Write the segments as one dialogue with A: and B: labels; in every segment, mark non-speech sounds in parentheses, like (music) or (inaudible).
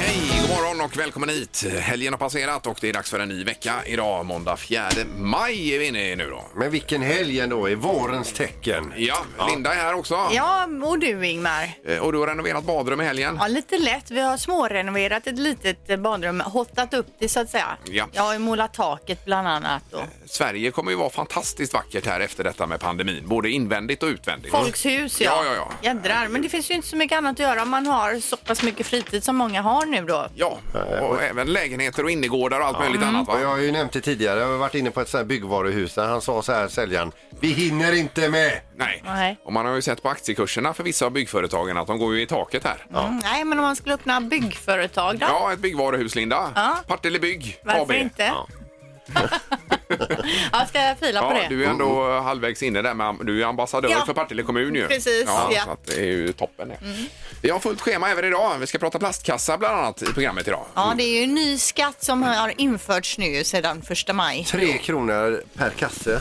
A: hej! God morgon och välkommen hit. Helgen har passerat och det är dags för en ny vecka. Idag, måndag 4 maj, är vi inne i nu då.
B: Men vilken helg ändå, i vårens tecken.
A: Ja, Linda är här också.
C: Ja, och du Ingmar.
A: Eh, Och du har renoverat badrum i helgen.
C: Ja, lite lätt. Vi har smårenoverat ett litet eh, badrum, hottat upp det så att säga.
A: Ja. Eh,
C: Jag har ju målat taket bland annat. Och
A: Sverige kommer ju vara fantastiskt vackert här efter detta med pandemin. Både invändigt och utvändigt.
C: folks hus, ja.
A: Ja, ja, ja.
C: Jädrar. Men det finns ju inte så mycket annat att göra om man har så pass mycket fritid som många har nu då.
A: Ja, och även lägenheter och innergårdar och allt möjligt
C: Mm.
A: annat
B: Och jag
A: va?
B: har ju nämnt det tidigare, jag har varit inne på ett sånt här byggvaruhus där han sa så här säljaren, vi hinner inte med.
A: Nej.
C: Nej.
A: Och man har ju sett på aktiekurserna för vissa av byggföretagen att de går ju i taket här.
C: Mm, nej, men om man skulle öppna byggföretag då?
A: Ja, ett byggvaruhus Linda.
C: Ja.
A: Partille Bygg
C: Varför
A: AB.
C: inte? (laughs) Ja. ska jag fila på
A: Ja,
C: det?
A: du är ändå halvvägs inne där. Men du är ambassadör
C: Ja.
A: för Partille kommun ju.
C: Precis,
A: Ja,
C: ja. Mm.
A: Så att det är ju toppen det. Vi har fullt schema även idag. Vi ska prata plastkassa bland annat i programmet idag.
C: Ja, det är ju en ny skatt som har införts nu sedan första maj.
B: Tre kronor per kasse.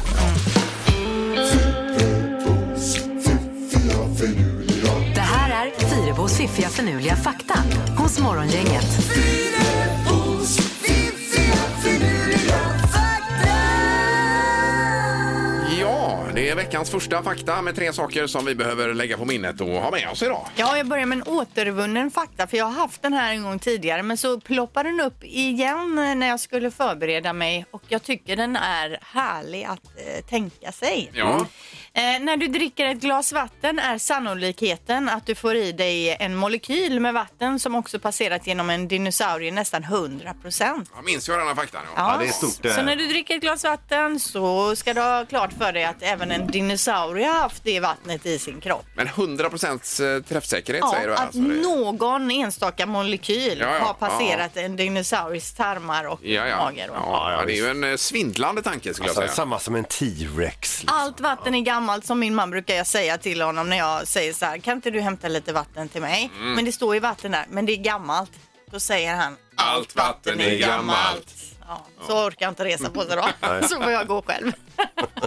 D: Det här är Fyrebos fiffiga förnuliga fakta hos Morgongänget.
A: Ja, det är veckans första fakta med tre saker som vi behöver lägga på minnet och ha med oss idag.
C: Ja, jag börjar med en återvunnen fakta för jag har haft den här en gång tidigare men så ploppar den upp igen eh, när jag skulle förbereda mig och jag tycker den är härlig att eh, tänka sig.
A: Ja.
C: Eh, när du dricker ett glas vatten är sannolikheten att du får i dig en molekyl med vatten som också passerat genom en dinosaurie nästan 100 procent.
A: Jag minns ju den här faktan. Ja.
B: det är stort eh. det.
C: Så när du dricker ett glas vatten så ska du ha klart för dig att även en dinosaurie har haft det vattnet i sin kropp.
A: Men 100 träffsäkerhet
C: Ja,
A: säger du.
C: att
A: alltså. Det-
C: någon enstaka molekyl
A: Ja, ja,
C: har passerat en dinosauries tarmar och
A: Ja, ja.
C: mager. Och.
A: Ja, ja,
B: ja,
A: det är ju en eh, svindlande tanke skulle
B: Alltså,
A: jag säga.
B: samma som en T-rex.
C: Allt vatten är gammalt som min man brukar jag säga till honom när jag säger så här, kan inte du hämta lite vatten till mig?
A: Mm.
C: Men det står ju vatten där, men det är gammalt. Då säger han,
A: Allt vatten är gammalt.
C: Ja, så orkar jag inte resa på sig då. så får jag gå själv. (laughs)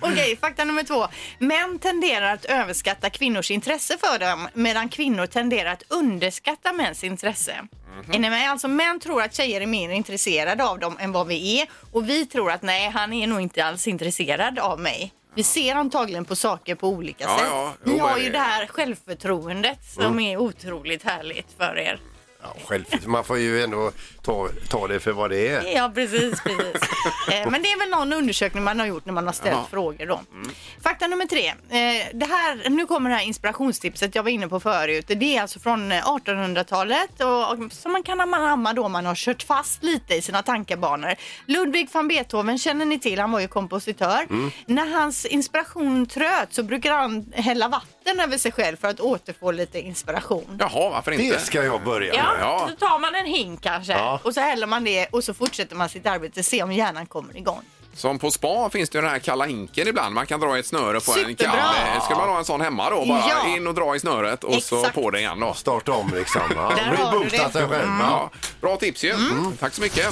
C: Okej, fakta nummer två. Män tenderar att överskatta kvinnors intresse för dem medan kvinnor tenderar att underskatta mäns intresse.
A: Mhm.
C: Är ni med? Alltså män tror att tjejer är mer intresserade av dem än vad vi är och vi tror att nej, han är nog inte alls intresserad av mig. Vi ser antagligen på saker på olika
A: Ja,
C: sätt.
A: ja. Jo,
C: Ni har
A: men
C: ju
A: det- Mm.
C: det här självförtroendet som är otroligt härligt för er.
B: Ja, själv, man får ju ändå ta, ta det för vad det är.
C: Ja, precis. precis. Eh, Men det är väl någon undersökning man har gjort när man har ställt
A: Jaha.
C: frågor. Då. Fakta nummer tre. Eh, Det här, nu kommer det här inspirationstipset jag var inne på förut. Det är alltså från eh, 1800-talet och, och som man kan anamma då om man har kört fast lite i sina tankebanor. Ludwig van Beethoven känner ni till, han var ju kompositör. När hans inspiration tröt så brukade han hälla vatten över sig själv för att återfå lite inspiration.
A: Jaha, varför inte?
B: Det ska jag börja
C: Ja,
B: med.
A: Ja.
C: så tar man en hink kanske
B: Ja.
C: och så häller man det och så fortsätter man sitt arbete se om hjärnan kommer igång.
A: Som på spa finns det ju den här kalla hinken ibland. Man kan dra i ett snöre på en
C: Superbra!
A: kall. Ska man ha en sån hemma då? Bara
C: Ja.
A: in och dra i snöret och så
C: Exakt.
A: på det igen då.
B: Starta om liksom. Ja,
C: Där har du
B: rebootat
C: det. Mm.
B: sig själv. Ja.
A: Ja, bra tips ju. Tack så mycket.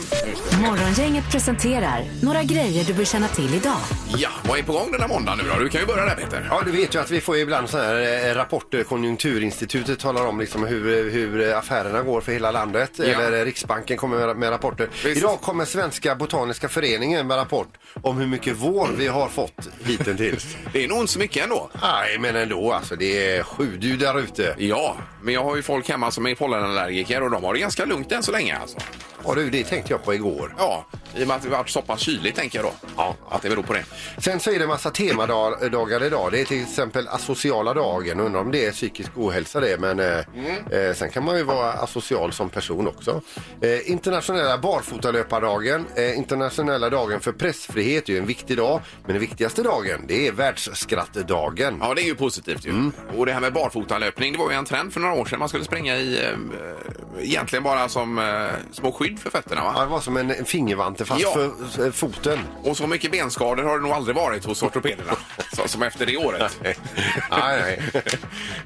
D: Morgongänget presenterar några grejer du bör känna till idag.
A: Ja, vad är på gång den här måndagen nu då? Du kan ju börja där Peter.
B: Ja, du vet ju att vi får ju ibland så här eh, rapporter. Konjunkturinstitutet talar om liksom hur, hur affärerna går för hela landet. Eller eh, Riksbanken kommer med, med rapporter.
A: Visst.
B: Idag kommer Svenska Botaniska Föreningen med rapport om hur mycket vår vi har fått
A: (laughs)
B: hittills.
A: Det är nog inte så mycket ändå.
B: Nej, men ändå alltså. Det är sju där ute.
A: Ja, men jag har ju folk hemma som är pollenallergiker och de har det ganska lugnt än så länge alltså.
B: Ja, du, det tänkte jag på igår.
A: Ja, i och med att det varit så pass kyligt tänker jag då. Ja. Att det beror på det.
B: Sen så är det en massa temadagar eh, idag. Det är till exempel asociala dagen. Undrar om det är psykisk ohälsa det. Men eh, eh, sen kan man ju vara asocial som person också. Eh, internationella barfotalöpardagen. Eh, internationella dagen för pressfrihet är ju en viktig dag. Men den viktigaste dagen det är världsskrattdagen.
A: Ja, det är ju positivt ju.
B: Mm.
A: Och det här med barfotalöpning, det var ju en trend för några år sedan. Man skulle springa i, eh, egentligen bara som eh, små skydd för fötterna va?
B: Ja, det var som en en fingervante fast
A: Ja.
B: för eh, foten. (laughs)
A: Och så mycket benskador har det nog aldrig varit hos ortopederna Så- Som efter det året.
B: nej, nej.
A: (laughs)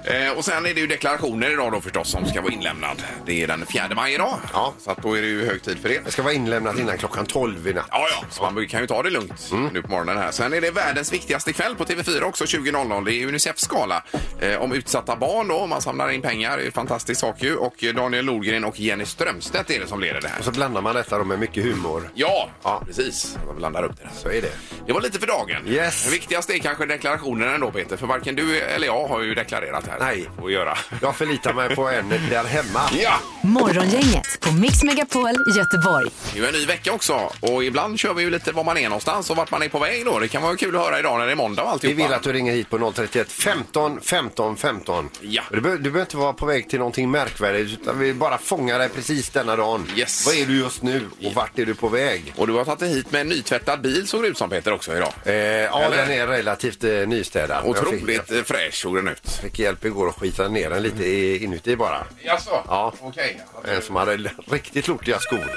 A: Eh, och sen är det ju deklarationer idag då förstås som ska vara inlämnad. Det är den 4 maj idag.
B: Ja.
A: Så att då är det ju hög tid för det.
B: Jag ska vara inlämnad innan klockan 12 i natt.
A: Ja, ja, så man kan ju ta det lugnt
B: Mm.
A: nu på morgonen här. Sen är det världens viktigaste kväll på TV4 också 20.00. Det är Unicefs gala eh, om utsatta barn då. Man samlar in pengar. Det är en fantastisk sak ju. Och eh, Daniel Nordgren och Jenny Strömstedt är det som leder det här.
B: Och så blandar man detta då med mycket humor.
A: Ja,
B: Ja.
A: precis. Man blandar upp det. där.
B: Så är det.
A: Det var lite för dagen.
B: Yes.
A: Det viktigaste är kanske deklarationen ändå Peter, för varken du eller jag har ju deklarerat här.
B: Nej.
A: Att göra.
B: Jag förlitar mig på en där hemma.
A: Ja!
D: Morgongänget på Mix Megapol Göteborg.
A: Det är ju en ny vecka också och ibland kör vi ju lite var man är någonstans och vart man är på väg då. Det kan vara kul att höra idag när det är måndag och
B: Vi
A: alltihopa.
B: vill att du ringer hit på 031 15 15 15.
A: Ja.
B: Du, behöver, du behöver inte vara på väg till någonting märkvärdigt utan vi bara fångar dig precis denna dagen.
A: Yes.
B: Vad är du just nu och vart är du på väg?
A: Och du har tagit dig hit med en nytvättad bil såg det ut som Peter också idag.
B: Eh, ja,
A: Eller?
B: den är relativt eh, nystädad. Jag
A: Otroligt
B: fick,
A: eh, fräsch såg den ut.
B: jag fick hjälp igår att skita ner den lite i- inuti bara.
A: Jaså?
B: Ja.
A: Okej.
B: En som hade l- riktigt lortiga skor.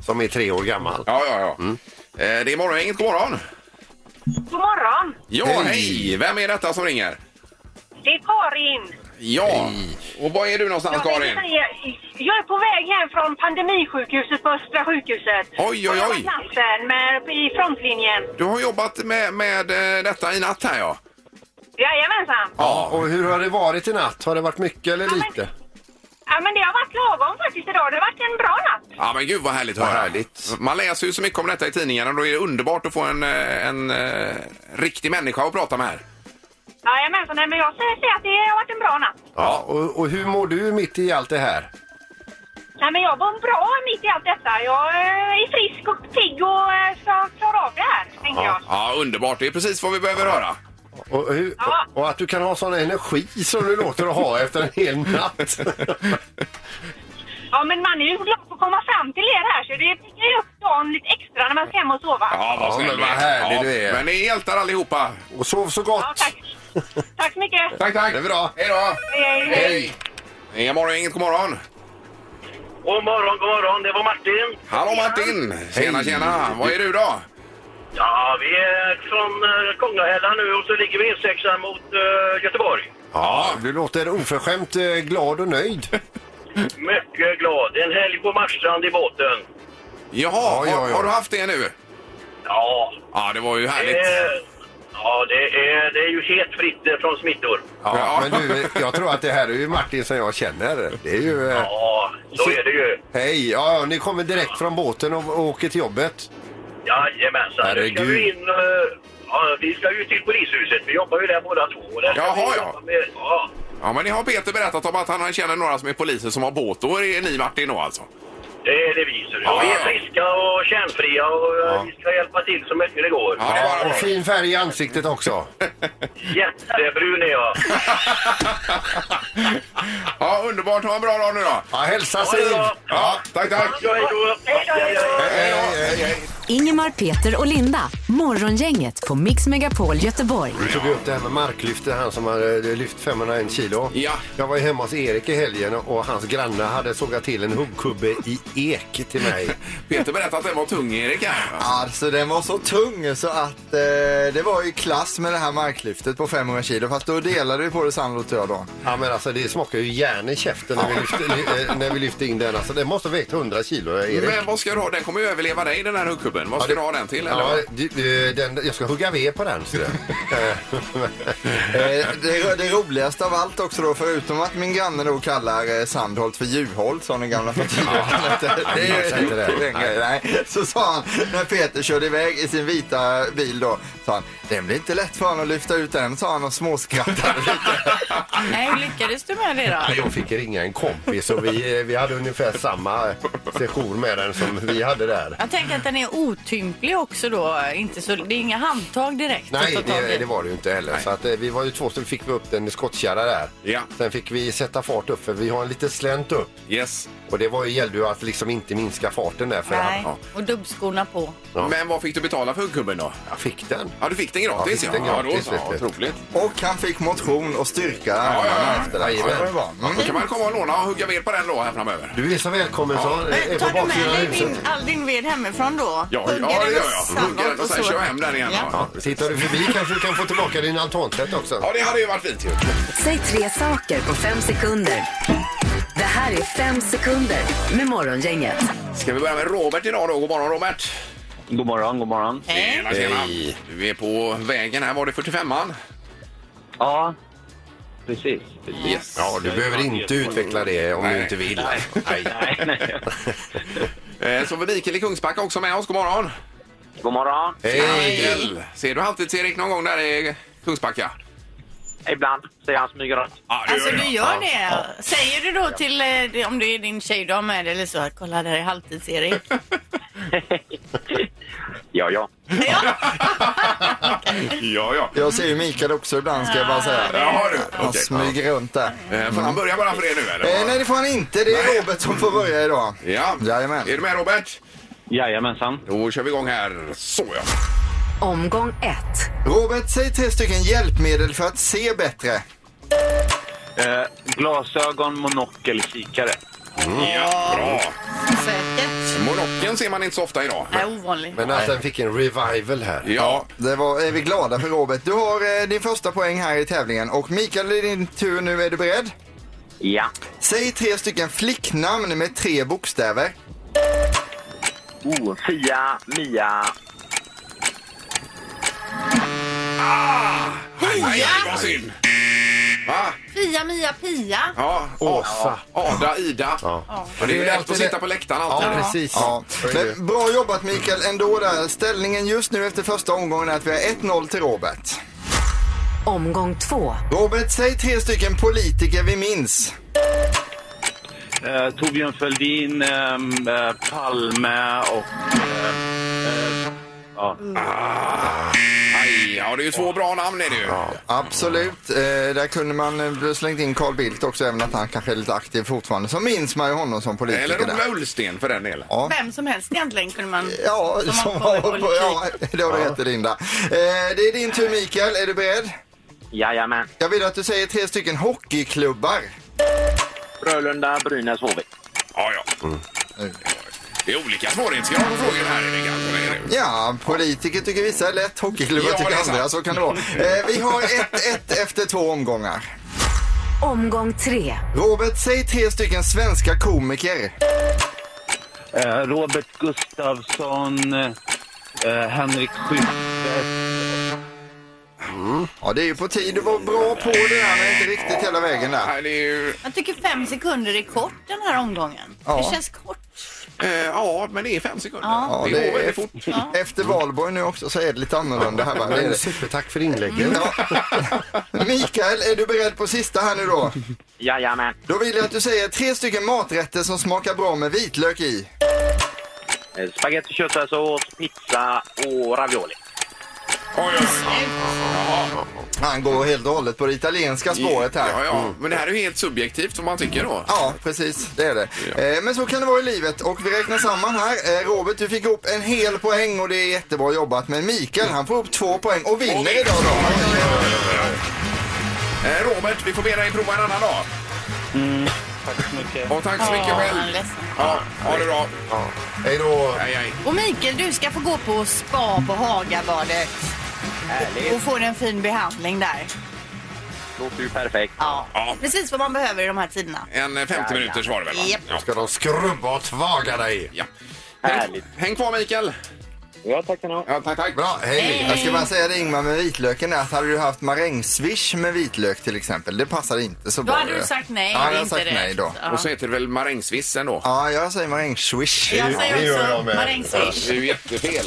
B: Som är tre år gammal.
A: Ja, ja, ja.
B: Mm.
A: Eh, Det är morgongänget, god morgon!
E: God morgon!
A: Ja, hej.
B: Hej.
A: Vem är detta som ringer?
E: Det är Karin.
A: Ja, och var är du någonstans
E: Jag vill
A: Karin?
E: säga, jag är på väg hem från pandemisjukhuset på Östra sjukhuset.
A: Oj, oj, oj.
E: Jag har platsen med, i frontlinjen.
A: Du har jobbat med, med eh, detta i natt här ja.
E: Jajamensan.
B: Ja, och hur har det varit i natt? Har det varit mycket eller
E: Ja, men-
B: lite?
E: Ja, men det har varit lagom faktiskt idag. Det har varit en bra natt.
A: Ja men gud vad härligt att
B: Vad
A: höra.
B: härligt.
A: Man läser ju så mycket om detta i tidningarna och då är det underbart att få en, eh, en, eh, riktig människa att prata med här.
E: Jajamensan, nej, men jag säger säger att det har varit en bra natt.
B: Ja, och, och hur mår du mitt i allt det här?
E: Nej, men jag mår bra mitt i allt detta. Jag eh, är frisk och pigg och eh, ska klara av det här, tänker jag.
A: Ja underbart, det är precis vad vi behöver höra.
B: Och, hur,
E: Ja.
B: och, och att du kan ha sån energi som du låter att ha efter en
E: (laughs)
B: hel natt.
E: Ja, men man är ju glad för att komma fram till er här, så det piggar ju upp dagen lite extra när man ska hem och sova.
A: Ja vad
B: Ja,
A: snäll
B: men
A: du
B: vad
A: är.
B: härlig
A: ja,
B: du är.
A: Men ni är hjältar allihopa.
B: Och sov så
E: Ja,
B: gott.
E: tack. Tack så mycket.
A: Tack tack.
B: Det är bra.
A: Hej då.
E: Hej, hej.
A: Hej. morgon, inget god morgon.
F: God morgon, god morgon. Det var Martin.
A: Hallå Martin! Tjena tjena! Vad är du då?
F: Ja, vi är från eh, Kongahälla nu och så ligger vi E6 mot eh, Göteborg.
B: Ja, du låter oförskämt eh, glad och nöjd.
F: Mycket glad. En helg på Marstrand i båten.
A: Jaha,
B: ja,
A: Har,
B: ja.
A: har du haft det nu?
F: Ja,
A: Ja det var ju
F: det
A: härligt.
F: är, ja, det är, det är ju helt fritt eh, från smittor.
B: Ja,
A: Ja.
B: men du, jag tror att det här är ju Martin som jag känner. Det är ju... eh,
F: Ja, så är det ju.
B: Hej! Ja, ja, ni kommer direkt från båten och, och åker till jobbet.
F: Jajamensan. Nu ska vi
B: Herregud.
F: in... eh, Ja, vi ska ju till polishuset. Vi jobbar ju där båda två. Och där ska
A: Jaha,
F: vi
A: ja.
F: jobba med- ja.
A: Ja men det har Peter berättat om att han känner några som är poliser som har båt. Då är det ni Martin då
B: (laughs)
A: alltså?
F: Det är det vi. ser.
A: Ja.
F: Och Vi är friska och kärnfria och eh,
B: Ja.
F: vi ska hjälpa till så mycket det går.
A: Ja, bara bra.
B: Och fin färg i ansiktet också.
F: Jättebrun är jag.
A: Ja, underbart. Ha en bra dag nu då.
B: Ja, hälsa
F: Ja, det är
B: Siv!
F: bra.
A: Ja, tack, tack.
F: Ja, hej då. Hej, hej, hej.
A: Hej, då. hej, hej.
D: Ingemar, Peter och Linda. Morgongänget på Mix Megapol Göteborg.
B: Vi tog ju upp det här med marklyftet, han som hade eh, lyft 501 kilo.
A: Ja.
B: Jag var ju hemma hos Erik i helgen och hans granne hade sågat till en huggkubbe i ek
A: (laughs)
B: till mig.
A: Peter berättade att den var tung, Erik. här.
G: Alltså den var så tung så att eh, det var i klass med det här marklyftet på 500 kilo. Fast då delade vi på det Sandroth och jag då.
B: Ja men alltså det smakar ju järn i käften när vi lyfte, li- eh, när vi lyfte in den. Alltså den måste ha vägt 100 kilo eh, Erik.
A: Men vad ska du ha? Den kommer ju överleva dig, den här huggkubben. Vad ska du ha den till? Eller?
B: Ja,
A: vad?
B: d- eh, den, jag ska hugga ved på den.
A: (laughs)
B: ser du. Eh, (laughs)
G: Eh, det, det roligaste av allt också då, förutom att min granne då kallar eh, Sandholt för Juholt som den gamla partiledaren hette. Det
B: jag sa
G: är
B: inte det.
G: ju en grej, nej. Så sa han, när Peter körde iväg i sin vita bil då, sa han, den blir inte lätt för honom att lyfta ut den, sa han och småskrattade lite.
C: Nej, hur lyckades du med det då?
B: Jag fick ringa en kompis och vi, eh, vi hade ungefär samma session med den som vi hade där.
C: Jag tänker att den är otymplig också då. Inte så, det är inga handtag direkt. att
B: Nej,
C: ta tag
B: det,
C: i.
B: det var det ju inte heller. Så att, eh, vi var ju två, så fick vi upp den i skottkärra där.
A: Ja.
B: Sen fick vi sätta fart upp, för vi har en liten slänt upp.
A: Yes.
B: Och det var, ju- gällde ju att liksom inte minska farten där för
C: Nej,
B: han,
C: och dubbskorna på.
B: Ja.
A: Men vad fick du betala för huggubben då?
B: jag fick den.
A: Ja, du fick den gratis.
B: Jag fick den gratis,
A: ja, då,
B: vet
A: så,
B: du. Mm.
A: otroligt.
G: Och han fick motion och styrka
A: ja, ja.
G: armarna efter det.
B: Jajamän.
G: det var bra. Mm.
A: Då kan man komma och låna och hugga ved på den då här framöver.
B: Du är så välkommen så. eh,
C: Men,
B: är
C: tar
B: på
C: du med
B: baksidan av
C: dig din,
B: huset.
C: all din ved hemifrån då?
A: Ja,
C: Hugger
A: ja det
C: den
A: gör
C: och
A: jag.
C: sabbar
A: Hugger den och sen
C: så.
A: kör jag hem den igen.
C: Ja.
A: Ja.
B: Ja, tittar du förbi kanske du kan få tillbaka din altantätt också.
A: Ja, det hade ju varit fint ju.
D: Säg tre saker på fem sekunder. Det här är fem sekunder med Morgongänget.
A: Ska vi börja med Robert idag då? God morgon Robert!
H: God morgon, god morgon.
C: Hej.
A: Tjena, tjena!
B: Hej.
A: Du är på vägen här. Var det 45an?
H: Ja, precis. (laughs) precis.
A: Yes.
B: Ja, du behöver inte utveckla det om
A: Nej.
B: du inte vill.
H: Nej, nej.
A: Eh, Så har vi Mikael i Kungsbacka också med oss. God morgon!
H: God morgon.
B: Hej!
A: Mikael! Ser du alltid Erik någon gång där i Kungsbacka?
H: Ibland ser jag han smyger runt.
A: Ja,
C: Alltså (laughs) du gör det? Säger du då till, eh, om det är din tjej du har med dig eller så, att kolla där är halvtids-Erik.
H: (laughs) Ja, ja.
A: ja, ja.
G: Jag ser ju Mikael också ibland ska jag bara säga.
A: Jaha du,
G: Han
A: okej.
G: smyger runt där.
A: Eh, Får han börja bara för det nu
G: Eh, nej
A: eller?
G: det får han inte, det är Robert som får börja idag.
A: Ja,
G: Jajamän.
A: är du med Robert?
H: Jajamensan.
A: Då kör vi igång här. Så ja.
D: Omgång ett.
G: Robert, säg tre stycken hjälpmedel för att se bättre.
H: Eh, glasögon, monokel, kikare.
A: Ja, bra.
C: Säkert.
A: Monocken ser man inte så ofta idag.
C: Nej, ovanligt.
B: Men att den fick en revival här.
A: Ja,
G: Det var, är vi glada för Robert. Du har eh, din första poäng här i tävlingen och Mikael det är din tur nu. Är du beredd?
H: Ja.
G: Säg tre stycken flicknamn med tre bokstäver.
H: Oh, Fia, Mia.
A: Aj, vad synd. Va?
C: Fia, Mia, Pia.
A: Ja,
B: Åsa.
A: Ada, Ida.
B: Ja.
A: Ja, det är ju
B: Det är
A: lätt
B: alltid
A: att
B: det.
A: sitta på läktaren alltid.
B: Ja, precis.
G: Ja, men bra jobbat Mikael ändå där. Ställningen just nu efter första omgången är att vi har 1-0 till Robert.
D: Omgång två.
G: Robert, säg tre stycken politiker vi minns.
H: Eh, Torbjörn Fälldin, ehm, eh, Palme och... Eh, eh, ja.
A: Aj, ja, det är ju två bra namn är det ju.
G: Absolut. Eh, där kunde man eh, slängt in Carl Bildt också, även att han kanske är lite aktiv fortfarande. Så minns man ju honom som politiker.
A: Eller
G: där.
A: Ola Ullsten för den delen.
G: Ja.
C: Vem som helst egentligen kunde man...
G: Ja,
C: Som
G: som
C: har koll
G: har
C: på
G: hållit på. (laughs) Ja, det har du rätt i Linda. Eh, det är din tur Mikael, är du beredd?
H: Jajamän.
G: Jag vill att du säger tre stycken hockeyklubbar.
H: Frölunda, Brynäs, HV.
A: Ja, ja. Det är olika svårighetsgrad på frågorna här Erik. alltså, det är det ju.
G: Ja, politiker tycker vissa är lätt, hockeyklubbar
A: Ja, det är
G: tycker andra.
A: sant.
G: Så kan det vara. Eh, vi har 1-1 efter två omgångar.
D: Omgång tre.
G: Robert, säg tre stycken svenska komiker.
H: Eh, Robert Gustafsson, eh, Henrik Schyffert.
G: Ja, det är ju på tid. Du var bra på det här, men inte riktigt hela vägen där.
A: Nej, det är ju...
C: Jag tycker fem sekunder är kort den här omgången.
G: Ja.
C: Det känns kort.
A: eh, Ja, men det är fem sekunder.
C: Ja.
A: Det går väldigt fort.
G: efter, efter valborg nu också så är det lite annorlunda här. va? Det
B: Men
G: är-
B: supertack för inlägget.
G: Ja. Mikael, är du beredd på sista här nu då?
H: Jajamän.
G: Då vill jag att du säger tre stycken maträtter som smakar bra med vitlök i.
H: Eh, Spagetti, köttfärssås, pizza och ravioli.
A: Oj, oj, oj.
G: Han går helt och hållet på det italienska spåret
A: Ja,
G: här.
A: ja. Men det här är ju helt subjektivt vad man tycker då.
G: Ja, precis. Det är det. Eh, Men så kan det vara i livet. Och vi räknar samman här. Eh, Robert, du fick upp en hel poäng och det är jättebra jobbat. Men Mikael, han får upp två poäng och vinner idag då.
A: Eh, Robert, vi får be dig prova en annan dag.
H: Tack så mycket.
A: Och tack så mycket
C: Ja, jag är
A: själv.
C: ledsen.
A: Ja, ha det bra.
B: Hej då!
A: Hej, hej.
C: Och Mikael, du ska få gå på spa på Hagabadet. Och få en fin behandling där.
H: Låter ju perfekt.
C: Ja.
A: Ja.
C: Precis vad man behöver i de här tiderna.
A: En eh, 50 minuters var det väl? va?
C: Japp.
A: Ja.
B: Ska de skrubba och tvaga dig?
A: ja. Häng,
H: Härligt.
A: häng kvar Mikael.
H: Ja, tack ska ni ha.
A: Ja, tack, tack.
G: Bra, hej. Jag ska bara säga det Ingmar med vitlöken är att hade du haft marängsviss med vitlök till exempel, det passar inte så
C: Då
G: bra.
C: hade du sagt nej.
G: Ja, jag hade
C: inte
G: sagt
C: rätt.
G: nej då.
C: Ja.
A: Och så heter det väl marängsviss ändå.
G: Ja, jag säger marängsviss.
C: Jag
B: det gör
C: säger
B: jag
C: också
B: med.
A: Det är
C: marängsviss.
A: ju jättefel.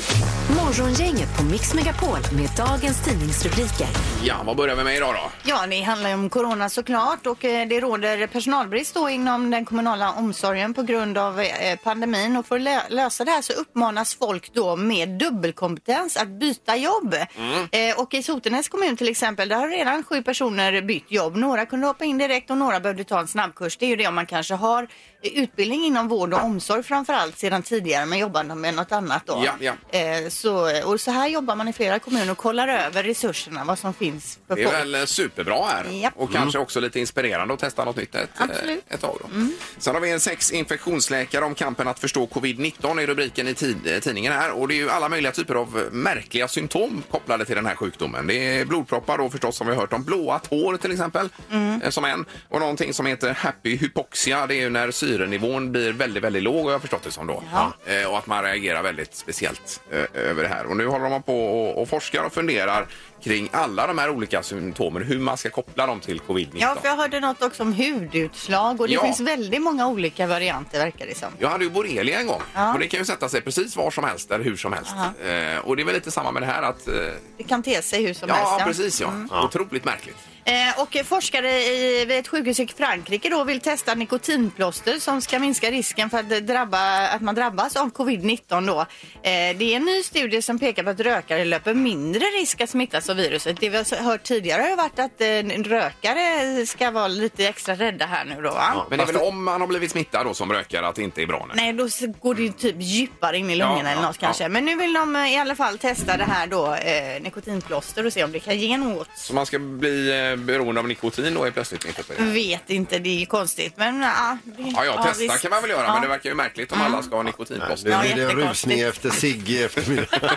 D: Morgongänget på Mix Megapol med dagens tidningsrubriker.
A: Ja, vad börjar vi med idag då?
C: Ja, det handlar ju om corona såklart och eh, det råder personalbrist då inom den kommunala omsorgen på grund av eh, pandemin och för att lö- lösa det här så uppmanas folk då med dubbelkompetens att byta jobb.
A: Mm.
C: Eh, Och i Sotenäs kommun till exempel, där har redan sju personer bytt jobb. Några kunde hoppa in direkt och några behövde ta en snabbkurs. Det är ju det om man kanske har utbildning inom vård och omsorg framförallt sedan tidigare men jobbar de med något annat då.
A: Ja, ja.
C: Eh, Så, och så här jobbar man i flera kommuner och kollar över resurserna, vad som finns för
A: Det är
C: folk.
A: väl eh, superbra här
C: Japp.
A: och kanske också lite inspirerande att testa något nytt ett,
C: Absolut.
A: eh, ett tag. Då.
C: Mm.
A: Sen har vi en sex infektionsläkare om kampen att förstå covid-19 i rubriken i tid, eh, tidningen här och det är ju alla möjliga typer av märkliga symptom kopplade till den här sjukdomen. Det är blodproppar då förstås som vi har hört om, blåa tår till exempel
C: Mm.
A: eh, som en och någonting som heter happy hypoxia det är ju när syrenivån blir väldigt, väldigt låg har jag förstått det som då.
C: Ja.
A: Eh, och att man reagerar väldigt speciellt eh, över det här. Och nu håller de på och, och forskar och funderar kring alla de här olika symptomen, hur man ska koppla dem till covid-19.
C: Ja, för jag hörde något också om hudutslag och det
A: Ja.
C: finns väldigt många olika varianter verkar det som.
A: Jag hade ju borrelia en gång
C: Ja.
A: och det kan ju sätta sig precis var som helst eller hur som helst. Eh, och det är väl lite samma med det här att... Eh,
C: Det kan te sig hur som helst.
A: ja, precis ja.
C: Mm.
A: Otroligt märkligt.
C: Eh, Och forskare i, vid ett sjukhus i Frankrike då vill testa nikotinplåster som ska minska risken för att, drabba, att man drabbas av covid-19. Då. Eh, Det är en ny studie som pekar på att rökare löper mindre risk att smittas av viruset. Det vi har hört tidigare har ju varit att eh, rökare ska vara lite extra rädda här nu då. Va?
A: Men det är väl om man har blivit smittad då som rökare att det inte är bra nu.
C: Nej, då s- går det ju typ djupare in i
A: Ja,
C: lungorna eller
A: ja,
C: något kanske.
A: ja.
C: Men nu vill de eh, i alla fall testa det här då, eh, nikotinplåster och se om det kan ge något.
A: Så man ska bli eh, beroende av nikotin då är plötsligt inte på det.
C: Vet inte, det är ju konstigt. Men ja, det,
A: Ja, ja, testa
C: visst.
A: kan man väl göra,
C: Ja.
A: men det verkar ju märkligt om alla ska ha nikotinplåster.
B: Nu
C: Ja,
B: blir det en
C: jättekonstigt.
B: rusning efter cigg i eftermiddag.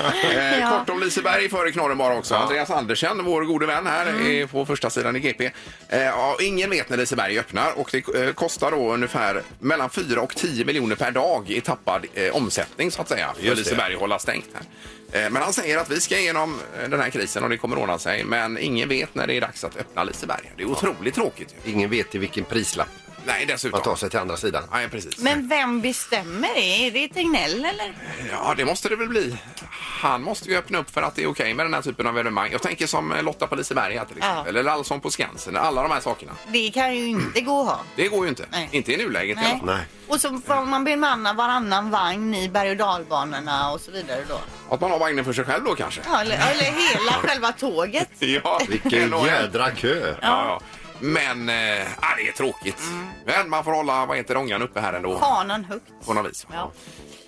C: (laughs)
A: Eh,
C: Ja.
A: Kort om Liseberg före knorren bara också. Andreas Andersen, vår gode vän här
C: Mm.
A: är på första sidan i GP. Eh, ja, ingen vet när Liseberg öppnar och det eh, kostar då ungefär mellan 4 och 10 miljoner per dag i tappad eh, omsättning så att säga. För
B: Just det.
A: Liseberg att hålla stängt här. Eh, men han säger att vi ska igenom eh, den här krisen och det kommer ordna sig. Men ingen vet när det är dags att öppna Liseberg. Det är otroligt tråkigt ju.
B: Ingen vet till vilken prislapp
A: Nej,
B: man tar
A: dessutom.
B: sig till andra sidan.
A: Nej, precis.
C: Men vem bestämmer det? Är det Tegnell eller?
A: Ja, det måste det väl bli. Han måste ju öppna upp för att det är okej med den här typen av evenemang. Jag tänker som eh, Lotta på Liseberg här till exempel, eller Allsång på Skansen, alla de här sakerna.
C: Det kan ju inte gå att ha.
A: Det går ju inte.
C: Nej.
A: Inte i nuläget i alla
C: Nej.
A: fall.
B: Nej.
C: Och så får man bemanna varannan vagn i berg och dalbanorna och så vidare då.
A: Att man har vagnen för sig själv då kanske.
C: Ja, eller, eller hela själva tåget.
A: (laughs) Ja,
B: Vilken
A: en och en.
B: jädra kö.
A: Ja, ja. Men, eh, ah, det är tråkigt.
C: Mm.
A: Men man får hålla, vad heter det, ångan uppe här ändå.
C: Fanan högt.
A: På något vis.
C: Ja.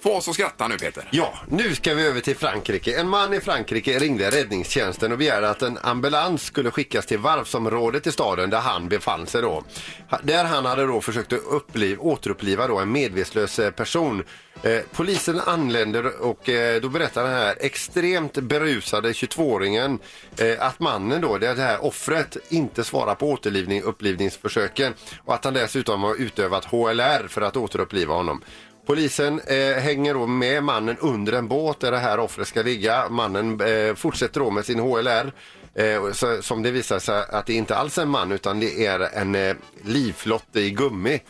A: Få oss att skratta nu Peter.
B: Ja, nu ska vi över till Frankrike. En man i Frankrike ringde räddningstjänsten och begärde att en ambulans skulle skickas till varvsområdet i staden där han befann sig då. Ha- Där han hade då försökt att uppliv, återuppliva då en medvetslös eh, person. Eh, polisen anländer och eh, då berättar den här extremt berusade 22-åringen eh, att mannen då, det här offret, inte svarar på återlivning, upplivningsförsöken och att han dessutom har utövat HLR för att återuppliva honom. Polisen eh, hänger då med mannen under en båt där det här offret ska ligga. Mannen eh, fortsätter då med sin HLR. Eh, och så, som det visar sig att det inte alls är en man utan det är en eh, livflott i gummi.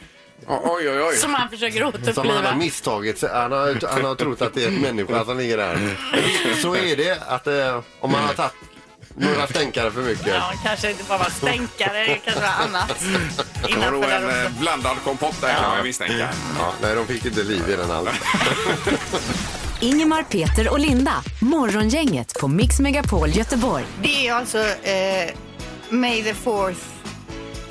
A: Oj, oj, oj.
C: Som han försöker
B: Som han har
C: återuppliva.
B: misstagit sig. Han har, han har trott att det är en människa att han ligger där. Så är det att eh, om man har tagit några stänkare för mycket.
C: Ja, kanske inte bara vara stänkare, det kanske var annat.
A: Det var nog
C: Innanför
A: en
C: där
A: eh,
C: också.
A: blandad kompott där kan man ju misstänka.
B: Ja, nej, de fick inte liv i den alls.
D: Ingemar, Peter och Linda. Morgongänget på Mix Megapol Göteborg.
C: Det är alltså eh, May the fourth,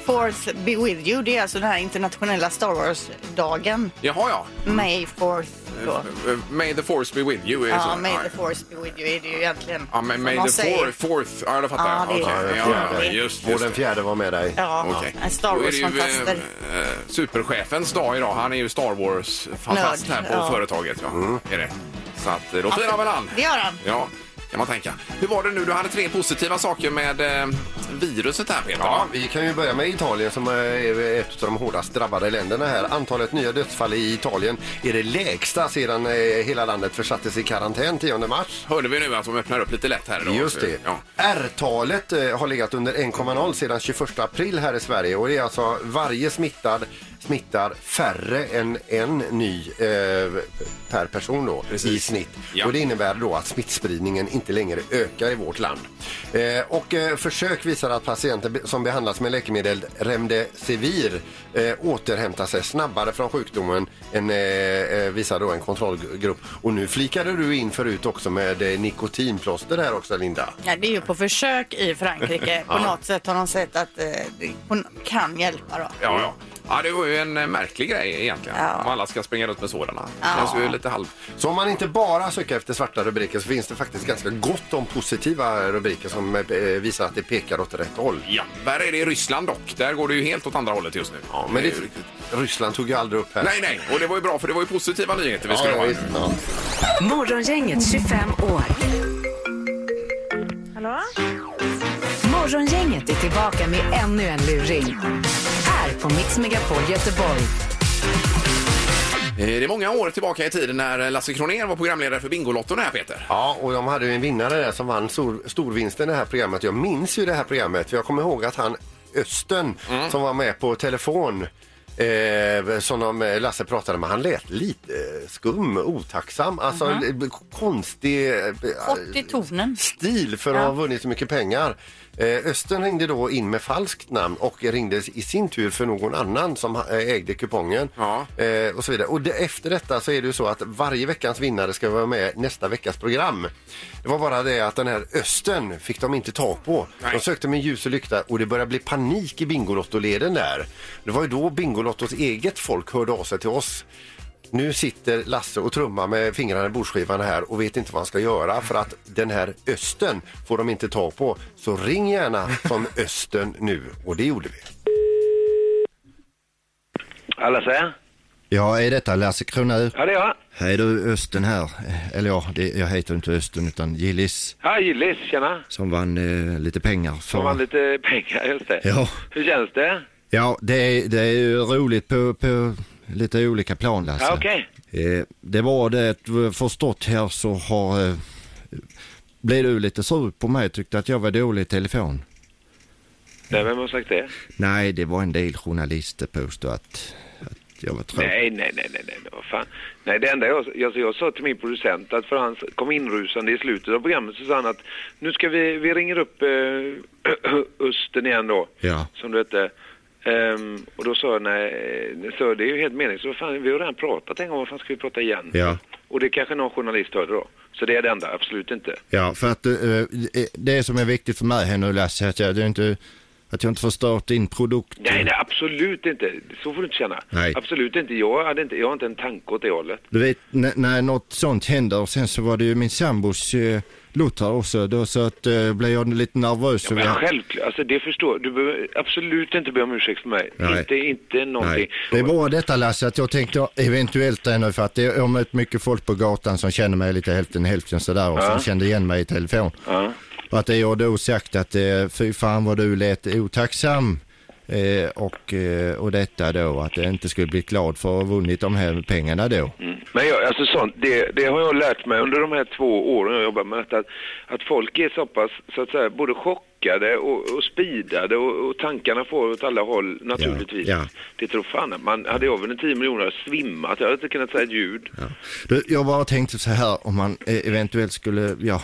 C: fourth be with you. Det är alltså den här internationella Star Wars-dagen.
A: Jaha, ja.
C: May fourth då.
A: Eh, Mm. May the force be with you. är det
C: Ja,
A: så?
C: May
A: Ja.
C: the force be with you är det ju egentligen.
A: Ja, men
C: som
A: May
C: man
A: the
C: säger.
A: fourth, fourth. Ja, det fattar
C: Ja,
A: jag.
C: det-
A: Okej.
B: den
A: Ja, ja,
B: fjärde.
A: just,
B: Och
A: just
B: den
A: det.
B: fjärde var med dig.
C: Ja,
A: Okej.
C: en Star
A: Då är det ju,
C: Wars-fantaster.
A: eh, eh, Superchefens dag idag. Han är ju Star Wars-fantast
C: Nörd,
A: här på
C: ja.
A: företaget. Ja.
B: Mm.
A: Är det. Så att, eh, då firar väl han.
C: Det gör han.
A: Ja, kan man tänka. Hur var det nu? Du hade tre positiva saker med eh, viruset här, Peter.
B: Ja,
A: va?
B: vi kan ju börja med Italien som eh, är ett av de hårdast drabbade länderna här. Antalet nya dödsfall i Italien är det lägsta sedan eh, hela landet försattes i karantän 10 mars.
A: Hörde vi nu att de öppnar upp lite lätt här idag?
B: Just det.
A: Ja.
B: R-talet eh, har legat under 1,0 sedan 21 april här i Sverige och det är alltså varje smittad smittar färre än en ny eh, per person då, i snitt.
A: Ja.
B: Och det innebär då att smittspridningen inte längre ökar i vårt land. Eh, och eh, försök visar att patienter be- som behandlas med läkemedel Remdesivir eh, återhämtar sig snabbare från sjukdomen än eh, eh, visar då en kontrollgrupp. Och nu flikade du in förut också med eh, nikotinplåster här också Linda.
C: Ja, det är ju på försök
A: (laughs)
C: i Frankrike. På något sätt har de sett att eh, det på- kan hjälpa. Då.
A: Ja,
B: Mm.
A: ja. Ja, det var ju en eh, märklig grej egentligen.
C: Ja.
A: Om alla ska springa runt med sådana. Det
C: Ja.
A: känns ju lite halv...
B: Så om man inte bara söker efter svarta rubriker så finns det faktiskt ganska gott om positiva rubriker som eh, visar att det pekar åt rätt håll.
A: Ja, där är det i Ryssland dock. Där går det ju helt åt andra hållet just nu. Ja,
B: Men det,
A: är ju riktigt-
B: Ryssland tog ju aldrig upp här.
A: Nej, nej, och det var ju bra för det var ju positiva nyheter vi
B: Ja,
A: skulle
B: ja,
A: ha.
B: visst. Ja.
D: Morgongänget 25 år.
E: Hallå?
D: Morgongänget är tillbaka med ännu en luring. Här på Mix Megapol Göteborg.
A: Eh, Det är många år tillbaka i tiden när Lasse Kronér var programledare för Bingolotto här Peter.
B: Ja, och de hade ju en vinnare där som vann stor, storvinsten i det här programmet. Jag minns ju det här programmet för jag kommer ihåg att han Östen
C: Mm.
B: som var med på telefon Eh, som de, eh, Lasse pratade med, han lät lite eh, skum, otacksam, alltså eh, konstig eh,
C: Mhm. Kort i tonen.
B: stil för att ha vunnit så mycket pengar. Eh, Östen ringde då in med falskt namn och ringde i sin tur för någon annan som eh, ägde kupongen.
A: Ja.
B: Eh, och så vidare. Och det, efter detta så är det ju så att varje veckans vinnare ska vara med nästa veckas program. Det var bara det att den här Östen fick de inte tag på.
A: Nej.
B: De sökte med ljus och lykta och det började bli panik i Bingolottoleden där. Det var ju då Bingolottos eget folk hörde av sig till oss. Nu sitter Lasse och trummar med fingrarna i bordsskivan här och vet inte vad han ska göra för att den här Östen får de inte tag på. Så ring gärna
A: (laughs)
B: som Östen nu och det gjorde vi.
H: Alla säger?
I: Ja, är detta Lasse Kronér?
H: Ja, det är jag.
I: Hej du, Östen här. Eller ja, det, jag heter inte Östen utan Gillis
H: Ja, Gillis, tjena.
I: som vann eh, lite pengar. För...
H: Får man lite pengar, just det.
I: Ja,
H: Hur känns det?
I: ja det, är, det är ju roligt på, på lite olika plan Lasse.
H: Ja, okej.
I: eh, det var det att eh, förstått här så har... Eh, blev du lite sur på mig, tyckte att jag var dålig i telefon.
H: Nej, vem har sagt det?
I: Nej, det var en del journalister påstod att, att jag var tråkig.
H: Nej, nej, nej, nej, nej, vad fan. Nej, det enda jag, jag, jag sa till min producent att för han kom inrusande i slutet av programmet så sa han att nu ska vi, vi ringer upp eh, (clears throat) Östen igen då,
I: Ja.
H: som du hette. Ehm, och då sa jag nej, så det är ju helt meningslöst, Vad fan, vi har redan pratat en gång, vad fan ska vi prata igen?
I: Ja.
H: Och det kanske någon journalist hörde då. Så det är det enda, absolut inte.
I: Ja, för att eh, det som är viktigt för mig här nu Lasse, att jag, det är inte, att jag inte förstört din produkt.
H: Nej, nej, absolut inte. Så får du inte känna.
I: Nej.
H: Absolut inte. Jag, hade inte. jag har inte en tanke åt det hållet.
I: Du vet, när, när något sånt händer, sen så var det ju min sambos eh, lottar också, då så att eh, blev jag lite nervös.
H: Ja, men
I: över-
H: självklart, alltså det förstår du. behöver absolut inte be om ursäkt för mig.
I: Nej.
H: Inte, inte någonting.
I: Nej. Det är bara detta Lasse, att jag tänkte eventuellt det nu för att det- jag har mött mycket folk på gatan som känner mig lite hälften hälften sådär och som kände igen mig i telefon.
H: Ja.
I: Och att jag då sagt att eh, fy fan vad du lät otacksam. Eh, och, eh, och detta då, att jag inte skulle bli glad för att ha vunnit de här pengarna då.
H: Men jag, alltså sånt, det, det har jag lärt mig under de här två åren jag jobbar med detta, att, att folk är så pass, så att säga, både chockade och, och speedade och, och tankarna får åt alla håll naturligtvis.
I: ja.
H: Det tror fan att man, hade jag vunnit 10 miljoner hade jag svimmat, jag hade inte kunnat säga ett ljud.
I: Ja. Du, jag bara tänkte så här om man eh, eventuellt skulle, ja,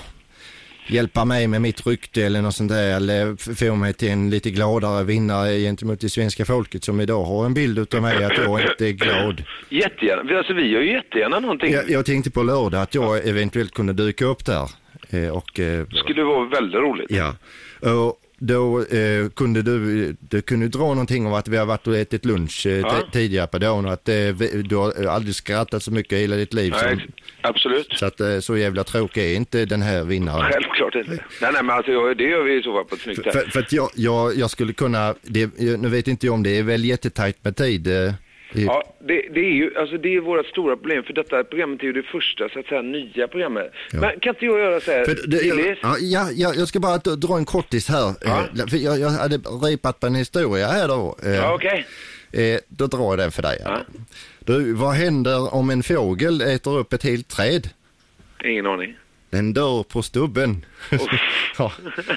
I: hjälpa mig med mitt rykte eller något sånt där eller f- få mig till en lite gladare vinnare gentemot det svenska folket som idag har en bild utav mig att jag inte är glad.
H: Jättegärna, Vi- alltså vi gör ju jättegärna någonting.
I: Jag, jag tänkte på lördag att jag eventuellt kunde dyka upp där eh, och eh,
H: Det skulle vara väldigt roligt.
I: Ja, och då eh, kunde du, du kunde dra någonting om att vi har varit och ätit lunch eh,
H: Ja.
I: ti- tidigare på dagen och att eh, vi, du har eh, aldrig skrattat så mycket i hela ditt liv.
H: Nej,
I: Som,
H: ex- absolut.
I: så att eh, så jävla tråkig är inte den här vinnaren.
H: Självklart inte. Nej, nej, men alltså jag, det gör vi i så fall på ett snyggt
I: För,
H: sätt.
I: för, för att jag, jag, jag skulle kunna, det, nu vet inte jag om det är väl jättetajt med tid. Eh, i-
H: Ja, det, det är ju alltså det är vårt stora problem för detta programmet är ju det första så att säga nya programmet. Men kan inte jag göra så här,
I: För det,
H: Gillis?
I: ja, ja, ja, jag ska bara dra en kortis här. Eh, För jag, jag hade repat på en historia här då. Eh,
H: Ja, okej.
I: Eh, då drar jag den för dig. Adam. Du, vad händer om en fågel äter upp ett helt träd?
H: Ingen aning.
I: Den dör på stubben. (laughs) ja,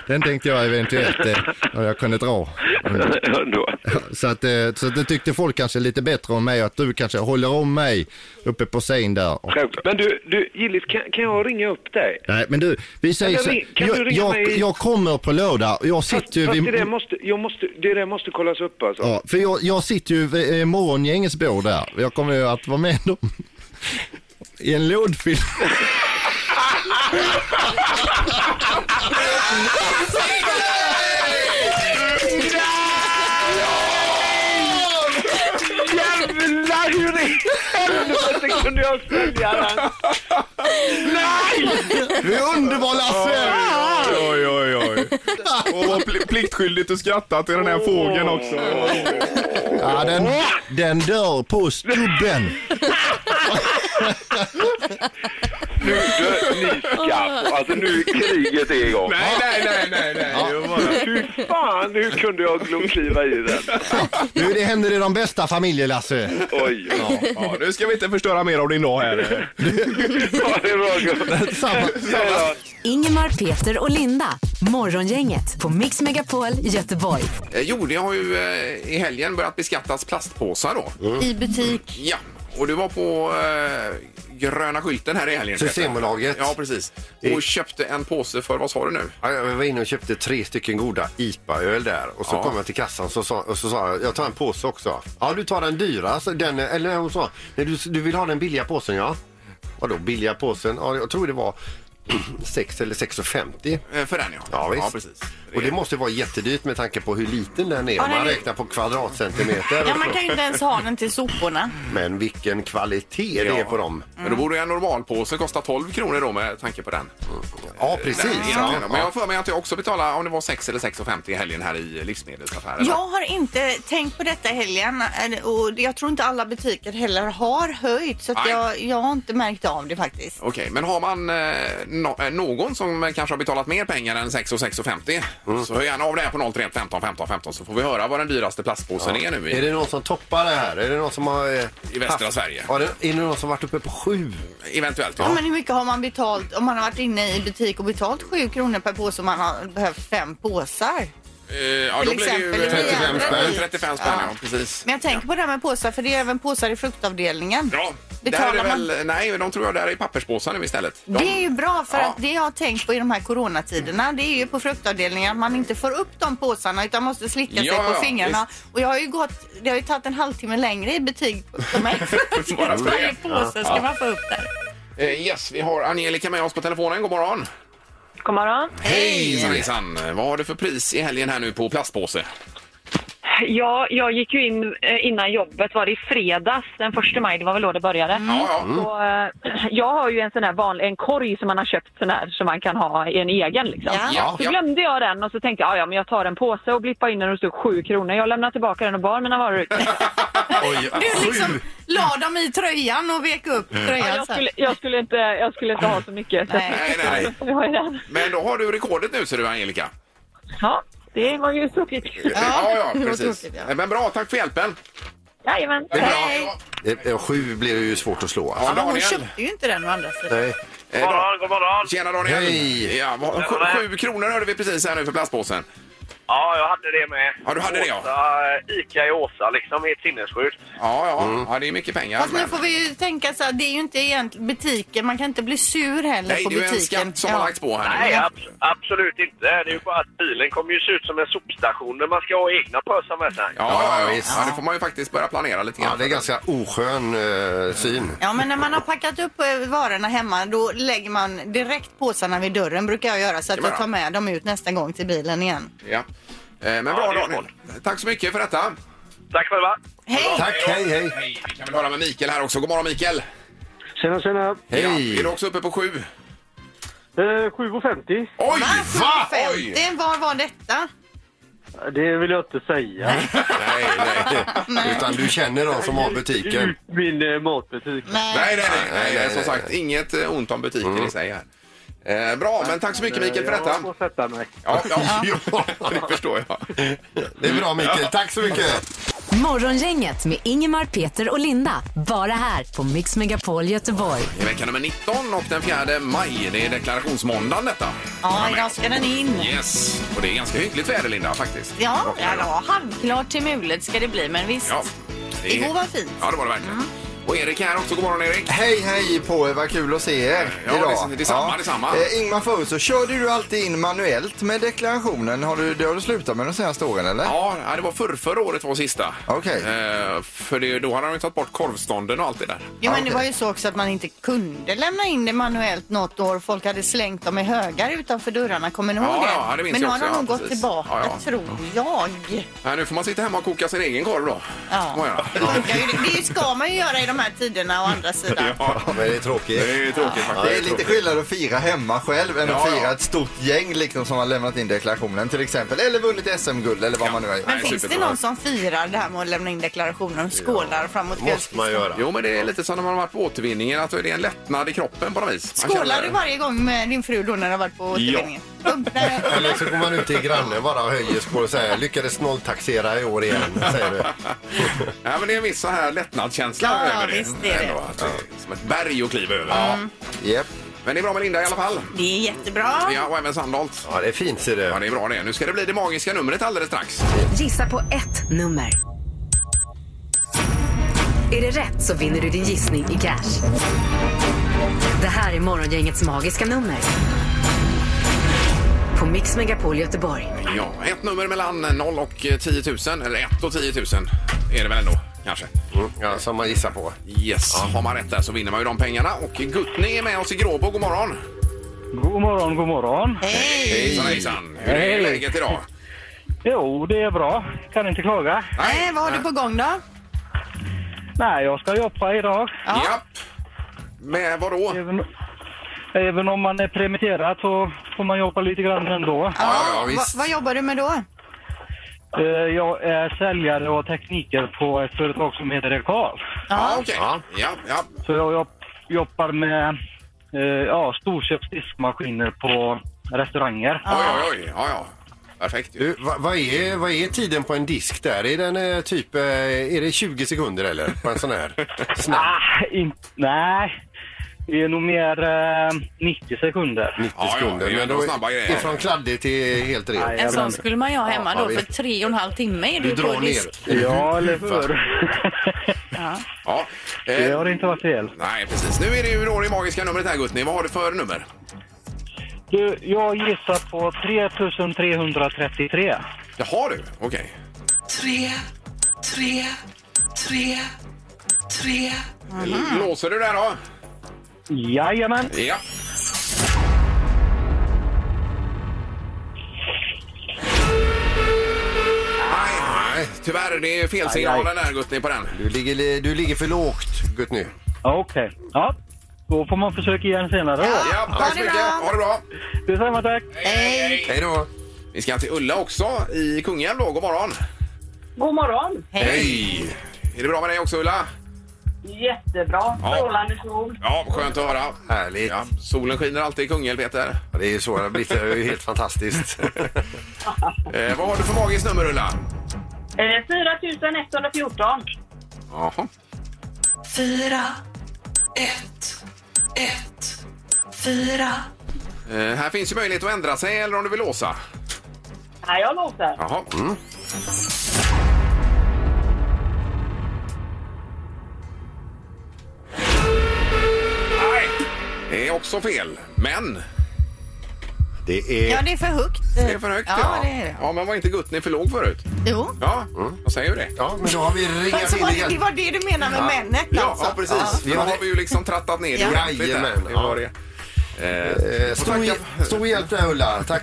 I: den tänkte jag eventuellt eh, om jag kunde dra.
H: Ändå.
I: Så, att, eh, så att det tyckte folk kanske lite bättre om mig, att du kanske håller om mig uppe på scen där. Och,
H: Självklart. Men du, du Gillis, kan, kan jag ringa upp dig?
I: nej, men du, vi säger
H: Men
I: så
H: ring- kan du
I: jag,
H: ringa
I: jag,
H: mig?
I: jag kommer på lördag och jag
H: Fast,
I: sitter
A: eh,
I: ju
H: fast det, där
I: vid...
H: måste, jag måste, det där måste kollas upp alltså.
I: Ja, för jag, jag sitter ju vid eh, morgongängets bord där. Jag kommer ju att vara med dem (laughs) i en lådfilm.
H: Jävlar hur i helvete kunde (laughs) jag svälja den? Nej!
I: Du är underbar Lasse!
A: Oj, oj, oj. Och vad pl- pliktskyldigt att skratta till den här fågeln också.
I: Ja, den, den dör på stubben.
H: Nu, du, ni ska, alltså nu kriget är igång.
A: Nej, nej, nej, nej. nej. Det var bara-
H: Fy fan, hur kunde jag glo- kliva i den?
I: Nu det händer i de bästa familjer Lasse.
H: Oj,
A: Ja, nu ska vi inte förstöra mer av din dag här.
H: ja, det är bra gubben.
I: Samma.
H: Hej då.
D: Ingemar, Peter och Linda. Morgongänget på Mix Megapol Göteborg.
A: Eh, Jo, det har ju eh, i helgen börjat beskattas plastpåsar då.
B: Mm.
C: I butik.
A: Ja, och du var på eh, gröna skylten här i helgen. Peter.
B: Systembolaget.
A: Ja, precis. Och köpte en påse för, vad sa du nu?
B: Ja, Jag var inne och köpte tre stycken goda IPA-öl där och så
A: Ja.
B: kom jag till kassan så sa, och så sa jag, jag tar en påse också. Ja, du tar den dyra, så den, eller hon sa, nej, du, du vill ha den billiga påsen ja. Vadå billiga påsen? Ja, jag tror det var (clears throat) 6 eller 6,50.
A: Eh, För den ja.
B: Ja, visst.
A: precis.
B: Och det måste vara jättedyrt med tanke på hur liten den är
C: Ja,
B: om man
C: nej, det-
B: räknar på kvadratcentimeter.
C: Ja, man kan ju inte ens ha den till soporna.
B: Men vilken kvalitet
A: Ja.
B: det är på dem.
C: Mm.
A: Men då borde ju en normalpåse kosta 12 kronor då med tanke på den.
B: Mm. Ja, precis.
A: Den
B: Ja,
A: egentligen. Men jag har för mig att jag också betalade om det var 6 eller 6,50 i helgen här i livsmedelsaffären.
C: Jag har inte tänkt på detta i helgen eh, och jag tror inte alla butiker heller har höjt så att
A: Nej.
C: jag, jag har inte märkt av det faktiskt.
A: Okej, men har man eh, no- eh, någon som kanske har betalat mer pengar än 6 och 6,50 så hör gärna av det här på 031 15 15 15 så får vi höra vad den dyraste plastpåsen är nu.
B: Är
A: I,
B: det någon som toppar det här? Är det någon som har... eh,
A: I västra Sverige.
B: Ja, det, är det någon som varit uppe på sju?
A: Eventuellt,
C: Ja.
A: ja.
C: Men hur mycket har man betalt om man har varit inne i butik och betalt 7 kronor per påse och man har behövt fem påsar?
A: Eh, ja
C: Till
A: då blir det ju
C: exempel i
B: 35 spänn.
A: 35 spänn, ja. precis.
C: Men jag tänker på det här med påsar för det är även påsar i fruktavdelningen.
A: Ja,
C: Betalar
A: där är det väl, nej, de tror jag där är papperspåsar nu istället. De,
C: Det är ju bra för
A: Ja.
C: att det jag har tänkt på i de här coronatiderna det är ju på fruktavdelningen att man inte får upp de påsarna utan måste slicka
A: Ja,
C: sig på
A: ja,
C: fingrarna. Och jag har ju gått, det har ju tagit en halvtimme längre i betyg för mig.
A: (laughs) Bara för
C: Varje
A: det.
C: påse ska man få upp där.
A: Eh, yes, vi har Angelica med oss på telefonen. God morgon!
E: God morgon.
A: Hejsan, hejsan! Vad har du för pris i helgen här nu på plastpåse?
E: Ja, jag gick ju in eh, innan jobbet, var det i fredags, den första maj, det var väl då det började.
A: Ja, ja.
E: Så, eh, (clears throat) jag har ju en sån här vanlig, en korg som man har köpt sån här som man kan ha i en egen liksom.
C: Ja.
A: Ja,
E: Så
A: ja.
E: glömde jag den och så tänkte jag, "Ja, ja men jag tar en påse och blippar in den och det stod sju kronor. Jag lämnar tillbaka den och bar
C: (laughs)
E: mina varor ut.
C: Du liksom la dem i tröjan och vek upp
A: Mm.
E: Ja,
C: tröjan.
E: jag,
C: så.
E: skulle, jag, skulle inte, jag skulle inte ha så mycket. Så
C: Nej.
A: Nej, nej.
E: (laughs) jag har ju den.
A: Men då har du rekordet nu, ser du, Angelica.
E: Ja, det var ju tråkigt.
A: Ja, ja,
C: det var
A: precis.
C: tråkigt, ja.
A: Men bra, tack för hjälpen.
E: Jajamän.
A: Det är bra.
C: Hej.
B: Eh, eh, Sju blir det ju svårt att slå.
A: Ja,
C: Ja, men hon
A: Daniel.
C: köpte ju inte den å andra sidan.
B: Nej.
A: Eh,
F: God
A: Dan-
F: morgon, god morgon.
A: Tjena Daniel!
B: Hej.
A: Ja, vad- sju, sju kronor hörde vi precis här nu för plastpåsen.
F: Ja, jag hade det med.
A: Ja, du hade det, ja.
F: Åsa, eh, Ica i Åsa liksom, helt sinnessjukt.
A: Ja, ja.
B: Mm.
A: ja, det är mycket pengar.
C: Fast nu får vi ju tänka så här, det är ju inte egentligen butiken, man kan inte bli sur heller
A: Nej,
C: på
A: det är ju en
C: butiken.
A: skatt som har lagts på här nu.
F: Nej, abs- absolut inte. Det är ju bara att bilen kommer ju se ut som en sopstation där man ska ha egna pösar med sig.
A: Ja, ja, ja,
B: Ja,
A: visst.
B: visst.
A: Ja, det får man ju faktiskt börja planera lite grann.
B: Ja, det är ganska oskön eh, syn.
C: Ja, men när man har packat upp eh, varorna hemma då lägger man direkt påsarna vid dörren brukar jag göra så att
A: Jajamän.
C: jag tar med dem ut nästa gång till bilen igen.
A: Ja. Eh, Men bra
F: Ja, det är
A: Daniel. Tack så mycket för detta.
F: Tack själva.
C: Hej!
B: Tack, hej, hej.
A: Hej, vi kan väl höra med Mikael här också. God morgon Mikael!
J: Tjena, tjena.
A: Ja, är
B: Hej!
A: du också uppe på sju?
J: Eh, 7,50.
A: Oj!
C: Va?
A: Oj!
C: 750, var var detta?
J: Det vill jag inte säga.
B: Nej, nej. Utan du känner de som har butiken.
J: Ut min eh, matbutik.
C: Nej.
A: Nej, nej, nej. nej,
B: nej,
A: nej
B: nej,
A: som sagt, inget eh, ont om butiken i sig här. Eh, bra, men tack så mycket Mikael för
J: Jag
A: detta.
J: får sätta mig.
A: (laughs) Ja, ja. det förstår jag.
B: Det är bra, Mikael. Tack så mycket.
D: Morgongänget med Ingemar, Peter och Linda. Bara här på Mix Megapol Göteborg.
A: I vecka nummer 19 och den 4 maj. Det är deklarationsmåndagen detta.
C: Ja, idag ska den in.
A: Yes, och det är ganska hyggligt väder Linda faktiskt.
C: Ja,
A: Och-
C: ja, ja, halvklart till mulet ska det bli, men visst.
A: Ja, det är-
C: Igår var fint. Mm.
A: Ja, det var det verkligen. Och Erik här också. God morgon Erik.
G: Hej, hej på er. Vad kul att se er
A: Ja,
G: idag.
A: det- detsamma, detsamma.
G: Eh, Ingmar, förut så körde du alltid in manuellt med deklarationen. Har du, det har du slutat med de senaste åren, eller?
A: Ja, ja, det var förr, förra året var sista.
G: Okej.
A: Eh, för det, då hade han ju tagit bort korvstånden och allt det där.
C: Jo, men det var ju så också att man inte kunde lämna in det manuellt något år. Folk hade slängt dem i högar utanför dörrarna. Kommer ni
A: Ja,
C: ihåg det?
A: ja, det minns
C: men nu
A: jag
C: har
A: också,
C: de nog
A: ja,
C: gått
A: precis.
C: tillbaka,
A: Ja, ja.
C: tror jag.
A: Nej, nu får man sitta hemma och koka sin egen korv då.
C: Ja.
A: Må jag.
C: Det funkar ju. Det- Det ska man ju göra i de här tiderna å andra sidan.
A: Ja,
B: Men det är tråkigt.
A: det är ju tråkigt
G: Ja,
A: faktiskt.
G: det är lite skillnad att fira hemma själv än
A: Ja,
G: att
A: ja.
G: fira ett stort gäng liksom, som har lämnat in deklarationen till exempel. Eller vunnit SM-guld eller vad man nu har gjort.
C: Men finns det
A: superbra.
C: någon som firar det här med att lämna in deklarationer och skålar framåt
B: måste
C: kvällskvisten?
B: man göra.
A: Jo, men det är lite som när man har varit på återvinningen, att det är en lättnad i kroppen på något vis. Man
C: Skålar
A: känner-
C: du varje gång med din fru då när du har varit på återvinningen?
A: (laughs)
C: Bubblar det?
B: Eller så går man ut till grannen bara och höjer skål och säger lyckades nolltaxera i år igen. Säger du.
A: Ja, men det är en viss så här lättnadskänsla
C: Ja,
A: över det.
C: visst är det.
A: Ändå, att det är som ett berg att kliva över.
G: Japp.
A: Men det är bra med Linda i alla fall.
C: Det är jättebra.
A: Ja, och även Sandholt.
B: Ja, det är fint ser
A: Ja,
B: du.
A: det är bra det. Nu ska det bli det magiska numret alldeles strax.
D: Gissa på ett nummer. Är det rätt så vinner du din gissning i cash. Det här är Morgongängets magiska nummer. På Mix Megapol Göteborg.
A: Ja, ett nummer mellan 0 och 10 000, eller 1 och 10 000 är det väl ändå, kanske.
B: Mm, ja, som man gissar på.
A: Yes, har man rätt där så vinner man ju de pengarna. Och Guttning är med oss i Gråbo, god morgon!
J: God morgon, god morgon.
C: Hej!
A: Hejsan hejsan! Hur är
J: Hej.
A: läget idag?
J: Jo, det är bra. Kan inte klaga.
C: Nej, Eh, vad har du på gång då?
J: Nej, jag ska jobba idag.
A: Ja. Japp! Med vadå? Ja,
J: Även, även om man är permitterad så får man jobba lite grann ändå.
A: ja,
C: Va,
A: visst.
C: vad jobbar du med då?
J: Eh, Jag är säljare och tekniker på ett företag som heter Rekal.
A: Ja, okej. Ja, ja.
J: Så jag jobb- jobbar med eh, ja, storköpsdiskmaskiner på restauranger.
A: Oj, oj, oj. Ja, ja. Perfekt ju.
B: Du, va- vad, är, vad är tiden på en disk där? Är den eh, typ eh, är det 20 sekunder eller? På en sån här snabb?
J: Ah, in, nej, det är nog mer eh, 90 sekunder.
B: 90
A: Ja, ja,
B: sekunder.
A: det är ändå
B: då
A: snabba grejer.
B: Ifrån kladdig till helt ren.
J: Nej.
C: En sån skulle man ju ha hemma
B: Ja,
C: då för
B: visst.
C: tre och en halv timme är
B: Du
C: du på
B: drar
C: disk.
B: ner.
J: Ja, eller hur?
A: Ja.
J: det
A: Eh,
J: har inte varit fel.
A: nej, precis. Nu är det ju då det magiska numret här, Guttning. Vad har du för nummer?
J: Du, jag gissar på 3333.
A: Jaha du, okej. Tre, tre, tre, tre. Låser du där då?
J: Jajamän!
A: Ja. Nej, nej, tyvärr. Det är felsignalen där, Guttning, på den.
B: Du ligger, li- du ligger för lågt, gutt nu.
J: Okej. Ja, då får man försöka igen senare. då.
A: Ja, tack så mycket. Ha det bra.
J: Detsamma, tack!
B: Hej då!
A: Vi ska till Ulla också i Kungälv då. God morgon.
E: God morgon.
A: Hej! Är det bra med dig också, Ulla?
E: Jättebra.
A: Ja.
E: Strålande sol.
A: Ja, skönt att höra.
B: Härligt.
A: Ja, solen skiner alltid i Kungälv, Peter.
B: Ja, Det är ju så, det har blivit- det är ju
A: (laughs)
B: helt fantastiskt.
A: Eh, vad har du för magiskt nummer, Ulla?
E: Eh, 4114.
A: Jaha. Fyra, ett, ett, fyra. Eh, här finns ju möjlighet att ändra sig eller om du vill låsa.
E: Nej, jag låser.
A: Jaha. Mm. Nej, Det är också fel, men
B: Det är...
C: Ja, det är för högt.
A: det är för högt.
C: Ja, det är det.
A: ja men var inte Guttny för låg förut?
C: Jo.
A: Ja, jag säger ju det.
B: Mm. Ja, men då har vi ringat
C: Alltså,
B: in
C: var det, det
B: igen.
C: var det du menade med männet
A: Ja,
C: alltså?
A: ja precis. För Då har vi ju liksom trattat ner det
C: Ja.
A: ordentligt. här.
B: Jajamän,
A: Det var
B: ja.
A: det. Eh,
B: Eh, Stor, hjäl- stor hjälp där, Ulla. Tack.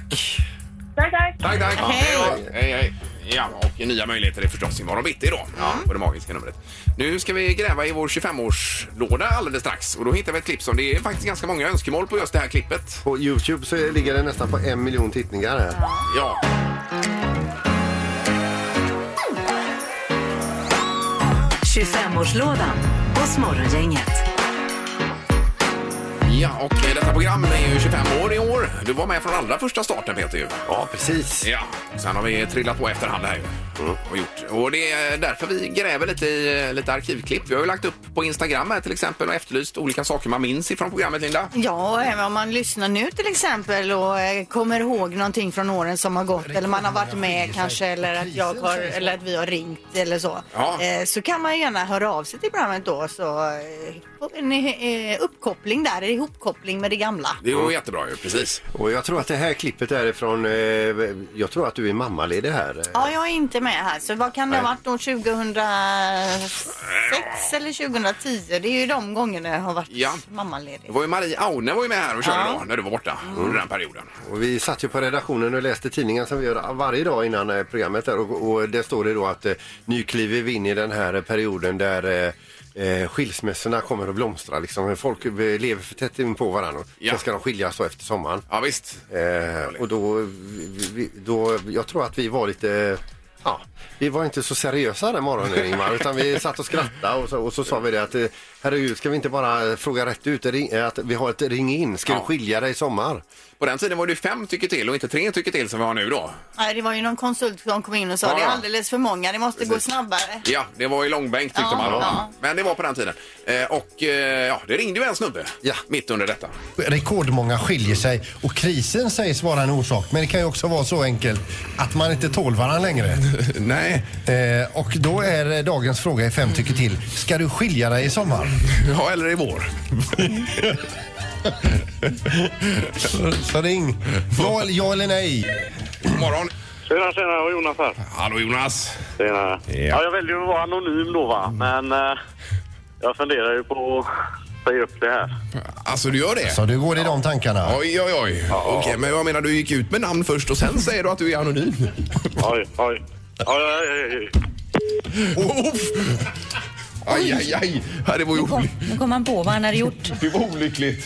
E: Tack, tack.
A: tack, tack.
C: Hej.
A: då. hej, hej. Ja, och nya möjligheter är förstås imorgon bitti då. Ja, på det magiska numret. Nu ska vi gräva i vår 25-årslåda alldeles strax och då hittar vi ett klipp som det är faktiskt ganska många önskemål på just det här klippet.
B: På Youtube så ligger det nästan på en miljon tittningar här.
A: Ja.
D: Morgon. 25-årslådan hos Morgongänget.
A: Ja, och detta program är ju 25 år i år. Du var med från allra första starten Peter ju.
B: Ja, precis.
A: Ja, sen har vi trillat på efterhand här ju. Och, gjort. och det är därför vi gräver lite i eh, lite arkivklipp. Vi har ju lagt upp på Instagram här till exempel och efterlyst olika saker man minns ifrån programmet, Linda.
C: Ja, och även om man lyssnar nu till exempel och eh, kommer ihåg någonting från åren som har gått eller man har varit med kanske eller att, jag har, eller att vi har ringt eller så.
A: Ja.
C: eh, Så kan man gärna höra av sig till programmet då så eh, får en eh, uppkoppling där, en ihopkoppling med det gamla.
A: Det var jättebra ju, precis.
B: Och jag tror att det här klippet är från, eh, jag tror att du är mammaledig här.
C: Ja, jag är inte med här. Så vad kan det ha
B: Nej.
C: varit då 2006 eller 2010? Det är ju de gångerna jag har varit
A: Ja.
C: mammaledig.
A: Det var ju Marie Aune var ju med här och körde
C: Ja. Mm.
A: då, när du var borta under den perioden.
B: Och vi satt ju på redaktionen och läste tidningen som vi gör varje dag innan eh, programmet där och, och det står det då att eh, nu kliver vi in i den här eh, perioden där eh, eh, skilsmässorna kommer att blomstra. Liksom. Folk eh, lever för tätt in på varandra.
A: Ja.
B: Sen ska de skiljas då efter sommaren.
A: Ja, visst.
B: Eh, och då, vi, vi- då, jag tror att vi var lite, ja, vi var inte så seriösa den morgonen Ingmar, utan vi satt och skrattade och så, och så sa vi det att eh, herregud, ska vi inte bara eh, fråga rätt ut, ring, eh, att vi har ett ring in, ska
A: Ja.
B: du skilja dig i sommar?
A: På den tiden var det ju fem tycker till och inte tre tycker till som vi har nu då.
C: Nej, det var ju någon konsult som kom in och sa
A: Ja,
C: det är
A: ja.
C: alldeles för många, det måste gå
A: Precis.
C: snabbare.
A: Ja, det var i långbänk tyckte
C: Ja,
A: man.
C: ja.
A: Men det var på den tiden. Eh, och eh, ja, det ringde ju en snubbe
B: Ja.
A: mitt under detta.
K: Rekordmånga skiljer sig och krisen sägs vara en orsak. Men det kan ju också vara så enkelt att man inte tål varandra
B: (laughs)
K: längre.
A: Nej.
K: Eh, och då är eh, dagens fråga i fem tycker till. Ska du skilja dig i sommar?
A: Ja, eller i vår.
K: Så ring. Ja, eller- ja eller nej?
A: God morgon.
F: Tjena, tjena. Det var Jonas här.
A: Hallå Jonas.
F: Tjena. Ja. jag väljer att vara anonym då, va. Men eh, jag funderar ju på att säga upp det här.
A: Alltså du gör det?
K: Så du går i de tankarna?
A: Oj, oj, oj. Okej, men jag menar du gick ut med namn först och sen säger du att du är anonym.
F: Oj, oj. Oj, oj, oj, oj.
A: Uff. Aj, aj, aj. Ja, Det var ju oly-
L: Nu kom man på vad han hade gjort.
A: det var olyckligt.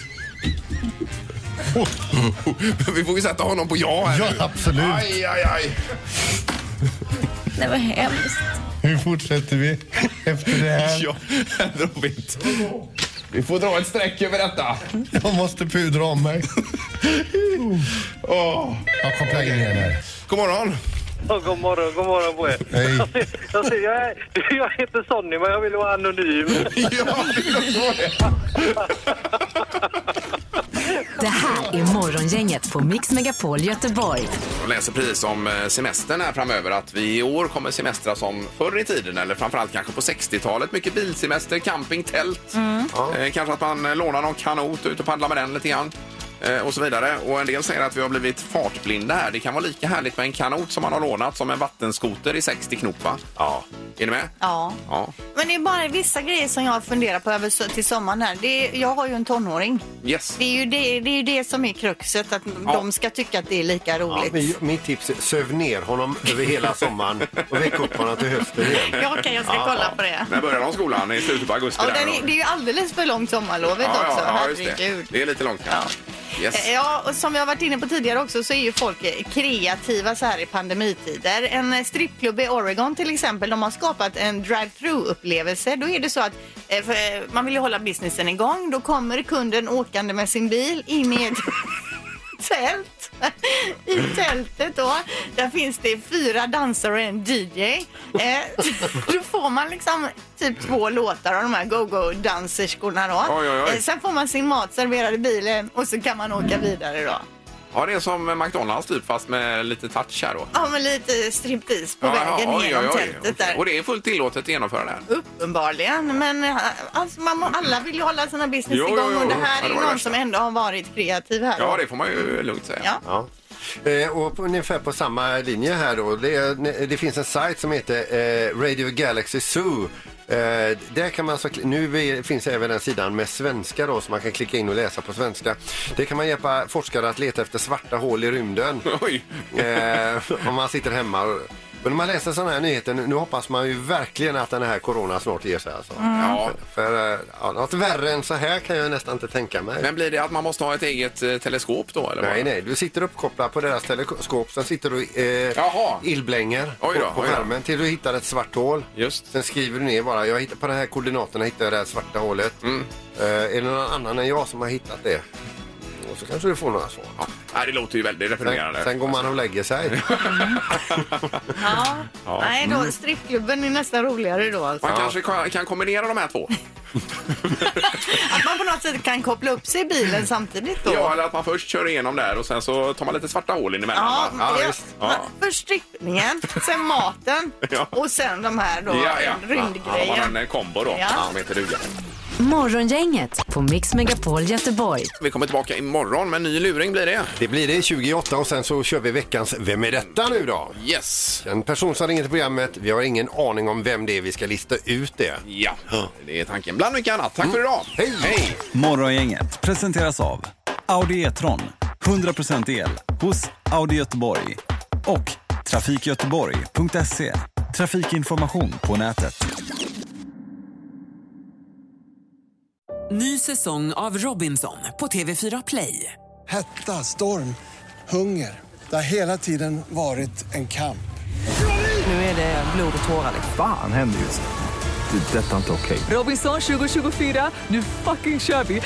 A: Men Vi får ju sätta honom på ja här
K: Ja,
A: nu.
K: absolut.
A: Aj, aj, aj.
L: Det var hemskt.
K: Hur fortsätter vi efter det här?
A: Ja, (laughs) Robert. Vi får dra ett streck över detta.
K: Jag måste pudra om mig.
A: (laughs) Åh.
K: Jag kopplar in igen här.
A: God morgon.
F: Ja, god morgon, god morgon på er.
K: Hej.
F: Jag, ser, jag, ser, jag, är, (laughs) jag heter Sonny, men jag vill vara anonym.
A: Ja, det var det.
D: Det här är Morgongänget på Mix Megapol Göteborg.
A: Jag läser precis om eh, semestern här framöver att vi i år kommer semestra som förr i tiden eller framförallt kanske på 60-talet. Mycket bilsemester, camping, tält.
C: Mm.
A: Eh, kanske att man eh, lånar någon kanot och ut och paddlar med den lite grann. eh, Och så vidare. Och en del säger att vi har blivit fartblinda här. Det kan vara lika härligt med en kanot som man har lånat som en vattenskoter i 60 knop va? Ja. Är ni med?
C: Ja.
A: Ja.
C: Men det är bara vissa grejer som jag funderar på över so- till sommaren här. Det är, jag har ju en tonåring.
A: Yes.
C: Det är ju det, det, är ju det som är kruxet, att de ska tycka att det är lika roligt.
B: Min, mitt tips är söv ner honom över hela sommaren och väck upp honom till hösten igen.
C: Ja, okej, jag ska kolla på det.
A: När börjar de skolan? I slutet på augusti?
C: Ja,
A: där
C: den
A: då?
C: är, det är ju alldeles för långt sommarlovet
A: ja,
C: också.
A: ja, ja, just det.
C: Herregud.
A: det är lite långt kanske. Yes.
C: Eh, Ja, och som jag har varit inne på tidigare också så är ju folk eh, kreativa så här i pandemitider. En eh, strippklubb i Oregon till exempel, de har skapat en drive-through upplevelse. Då är det så att eh, för, eh, man vill ju hålla businessen igång. Då kommer kunden åkande med sin bil in i ett tält. I tältet då, där finns det fyra dansare och en DJ. Eh, (laughs) då får man liksom typ två låtar av de här go-go-danserskorna då.
A: Oj, oj, oj.
C: Eh, Sen får man sin mat serverad i bilen och så kan man åka vidare då.
A: Ja, det är som McDonalds typ fast med lite touch här då.
C: Ja, men lite striptease på
A: Ja, ja,
C: vägen
A: oj,
C: genom
A: oj, oj.
C: tältet där.
A: Och det är fullt tillåtet att genomföra det här.
C: Uppenbarligen, men eh, alltså, man må, alla vill ju hålla sina business
A: Jo, jo,
C: igång
A: jo.
C: och det här
A: Ja, det
C: är
A: var
C: någon
A: värsta.
C: som ändå har varit kreativ här.
A: Ja,
C: då.
A: det får man ju lugnt säga.
C: Ja.
B: Ja. Eh, och på, ungefär på samma linje här då. Det, är- det finns en sajt som heter eh, Radio Galaxy Zoo. Eh, där kan man så, nu är- finns även den sidan med svenska då som man kan klicka in och läsa på svenska. Det kan man hjälpa forskare att leta efter svarta hål i rymden.
A: Oj.
B: eh, om man sitter hemma. Men när man läser sådana här nyheter, nu nu hoppas man ju verkligen att den här corona snart ger sig. Alltså.
A: Ja.
B: För eh, ja, något värre än så här kan jag nästan inte tänka mig.
A: Men blir det att man måste ha ett eget eh, teleskop då? Eller
B: Nej,
A: vad?
B: nej. Du sitter uppkopplad på deras teleskop. Sen sitter du eh,
A: Jaha.
B: illblänger
A: Oj då,
B: på, på
A: oj då.
B: skärmen till du hittar ett svart hål.
A: Just.
B: Sen skriver du ner bara, jag hittar, på de här
A: Mm.
B: koordinaterna hittar jag det här svarta hålet. Eh, är det någon annan än jag som har hittat det? och så kanske du får några svar.
A: Nej, det låter ju väldigt deprimerande.
B: Sen, sen går man och
A: (laughs)
B: lägger sig.
C: Ja.
A: Ja.
C: Nej, då,
A: Mm.
C: strippklubben är nästan roligare då. Alltså.
A: Man kanske kan- kan kombinera de här två.
C: Att man på något sätt kan koppla upp sig i bilen samtidigt då.
A: Ja, eller att man först kör igenom där och sen så tar man lite svarta hål in emellan.
C: Ja,
A: va?
C: det-
A: Ja.
C: Först strippningen, sen maten
A: (laughs) Ja.
C: och sen de här då,
A: Ja, ja. Ja, man har
C: rymdgrejen.
A: en eh, kombo då
C: Ja.
A: som heter duga.
D: Morgongänget på Mix Megapol Göteborg.
A: Vi kommer tillbaka imorgon med en ny luring blir det.
B: Det blir det 28 och sen så kör vi veckans Vem är detta nu då?
A: Yes.
B: En person som ringer till programmet, vi har ingen aning om vem det är, vi ska lista ut det.
A: Ja, det är tanken. Bland mycket annat. Tack för
B: Mm.
A: idag. Hej! Hej.
M: Morgongänget presenteras av Audi E-tron. 100% el hos Audi Göteborg. Och trafikgöteborg.se. Trafikinformation på nätet.
N: Ny säsong av Robinson på TV4 Play.
O: Hetta, storm, hunger. Det har hela tiden varit en kamp.
N: Nu är det blod och tårar.
P: Fan händer just nu. Det. är Detta är inte okej.
N: Robinson 2024, nu fucking kör vi!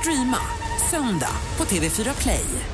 N: Streama söndag på TV4 Play.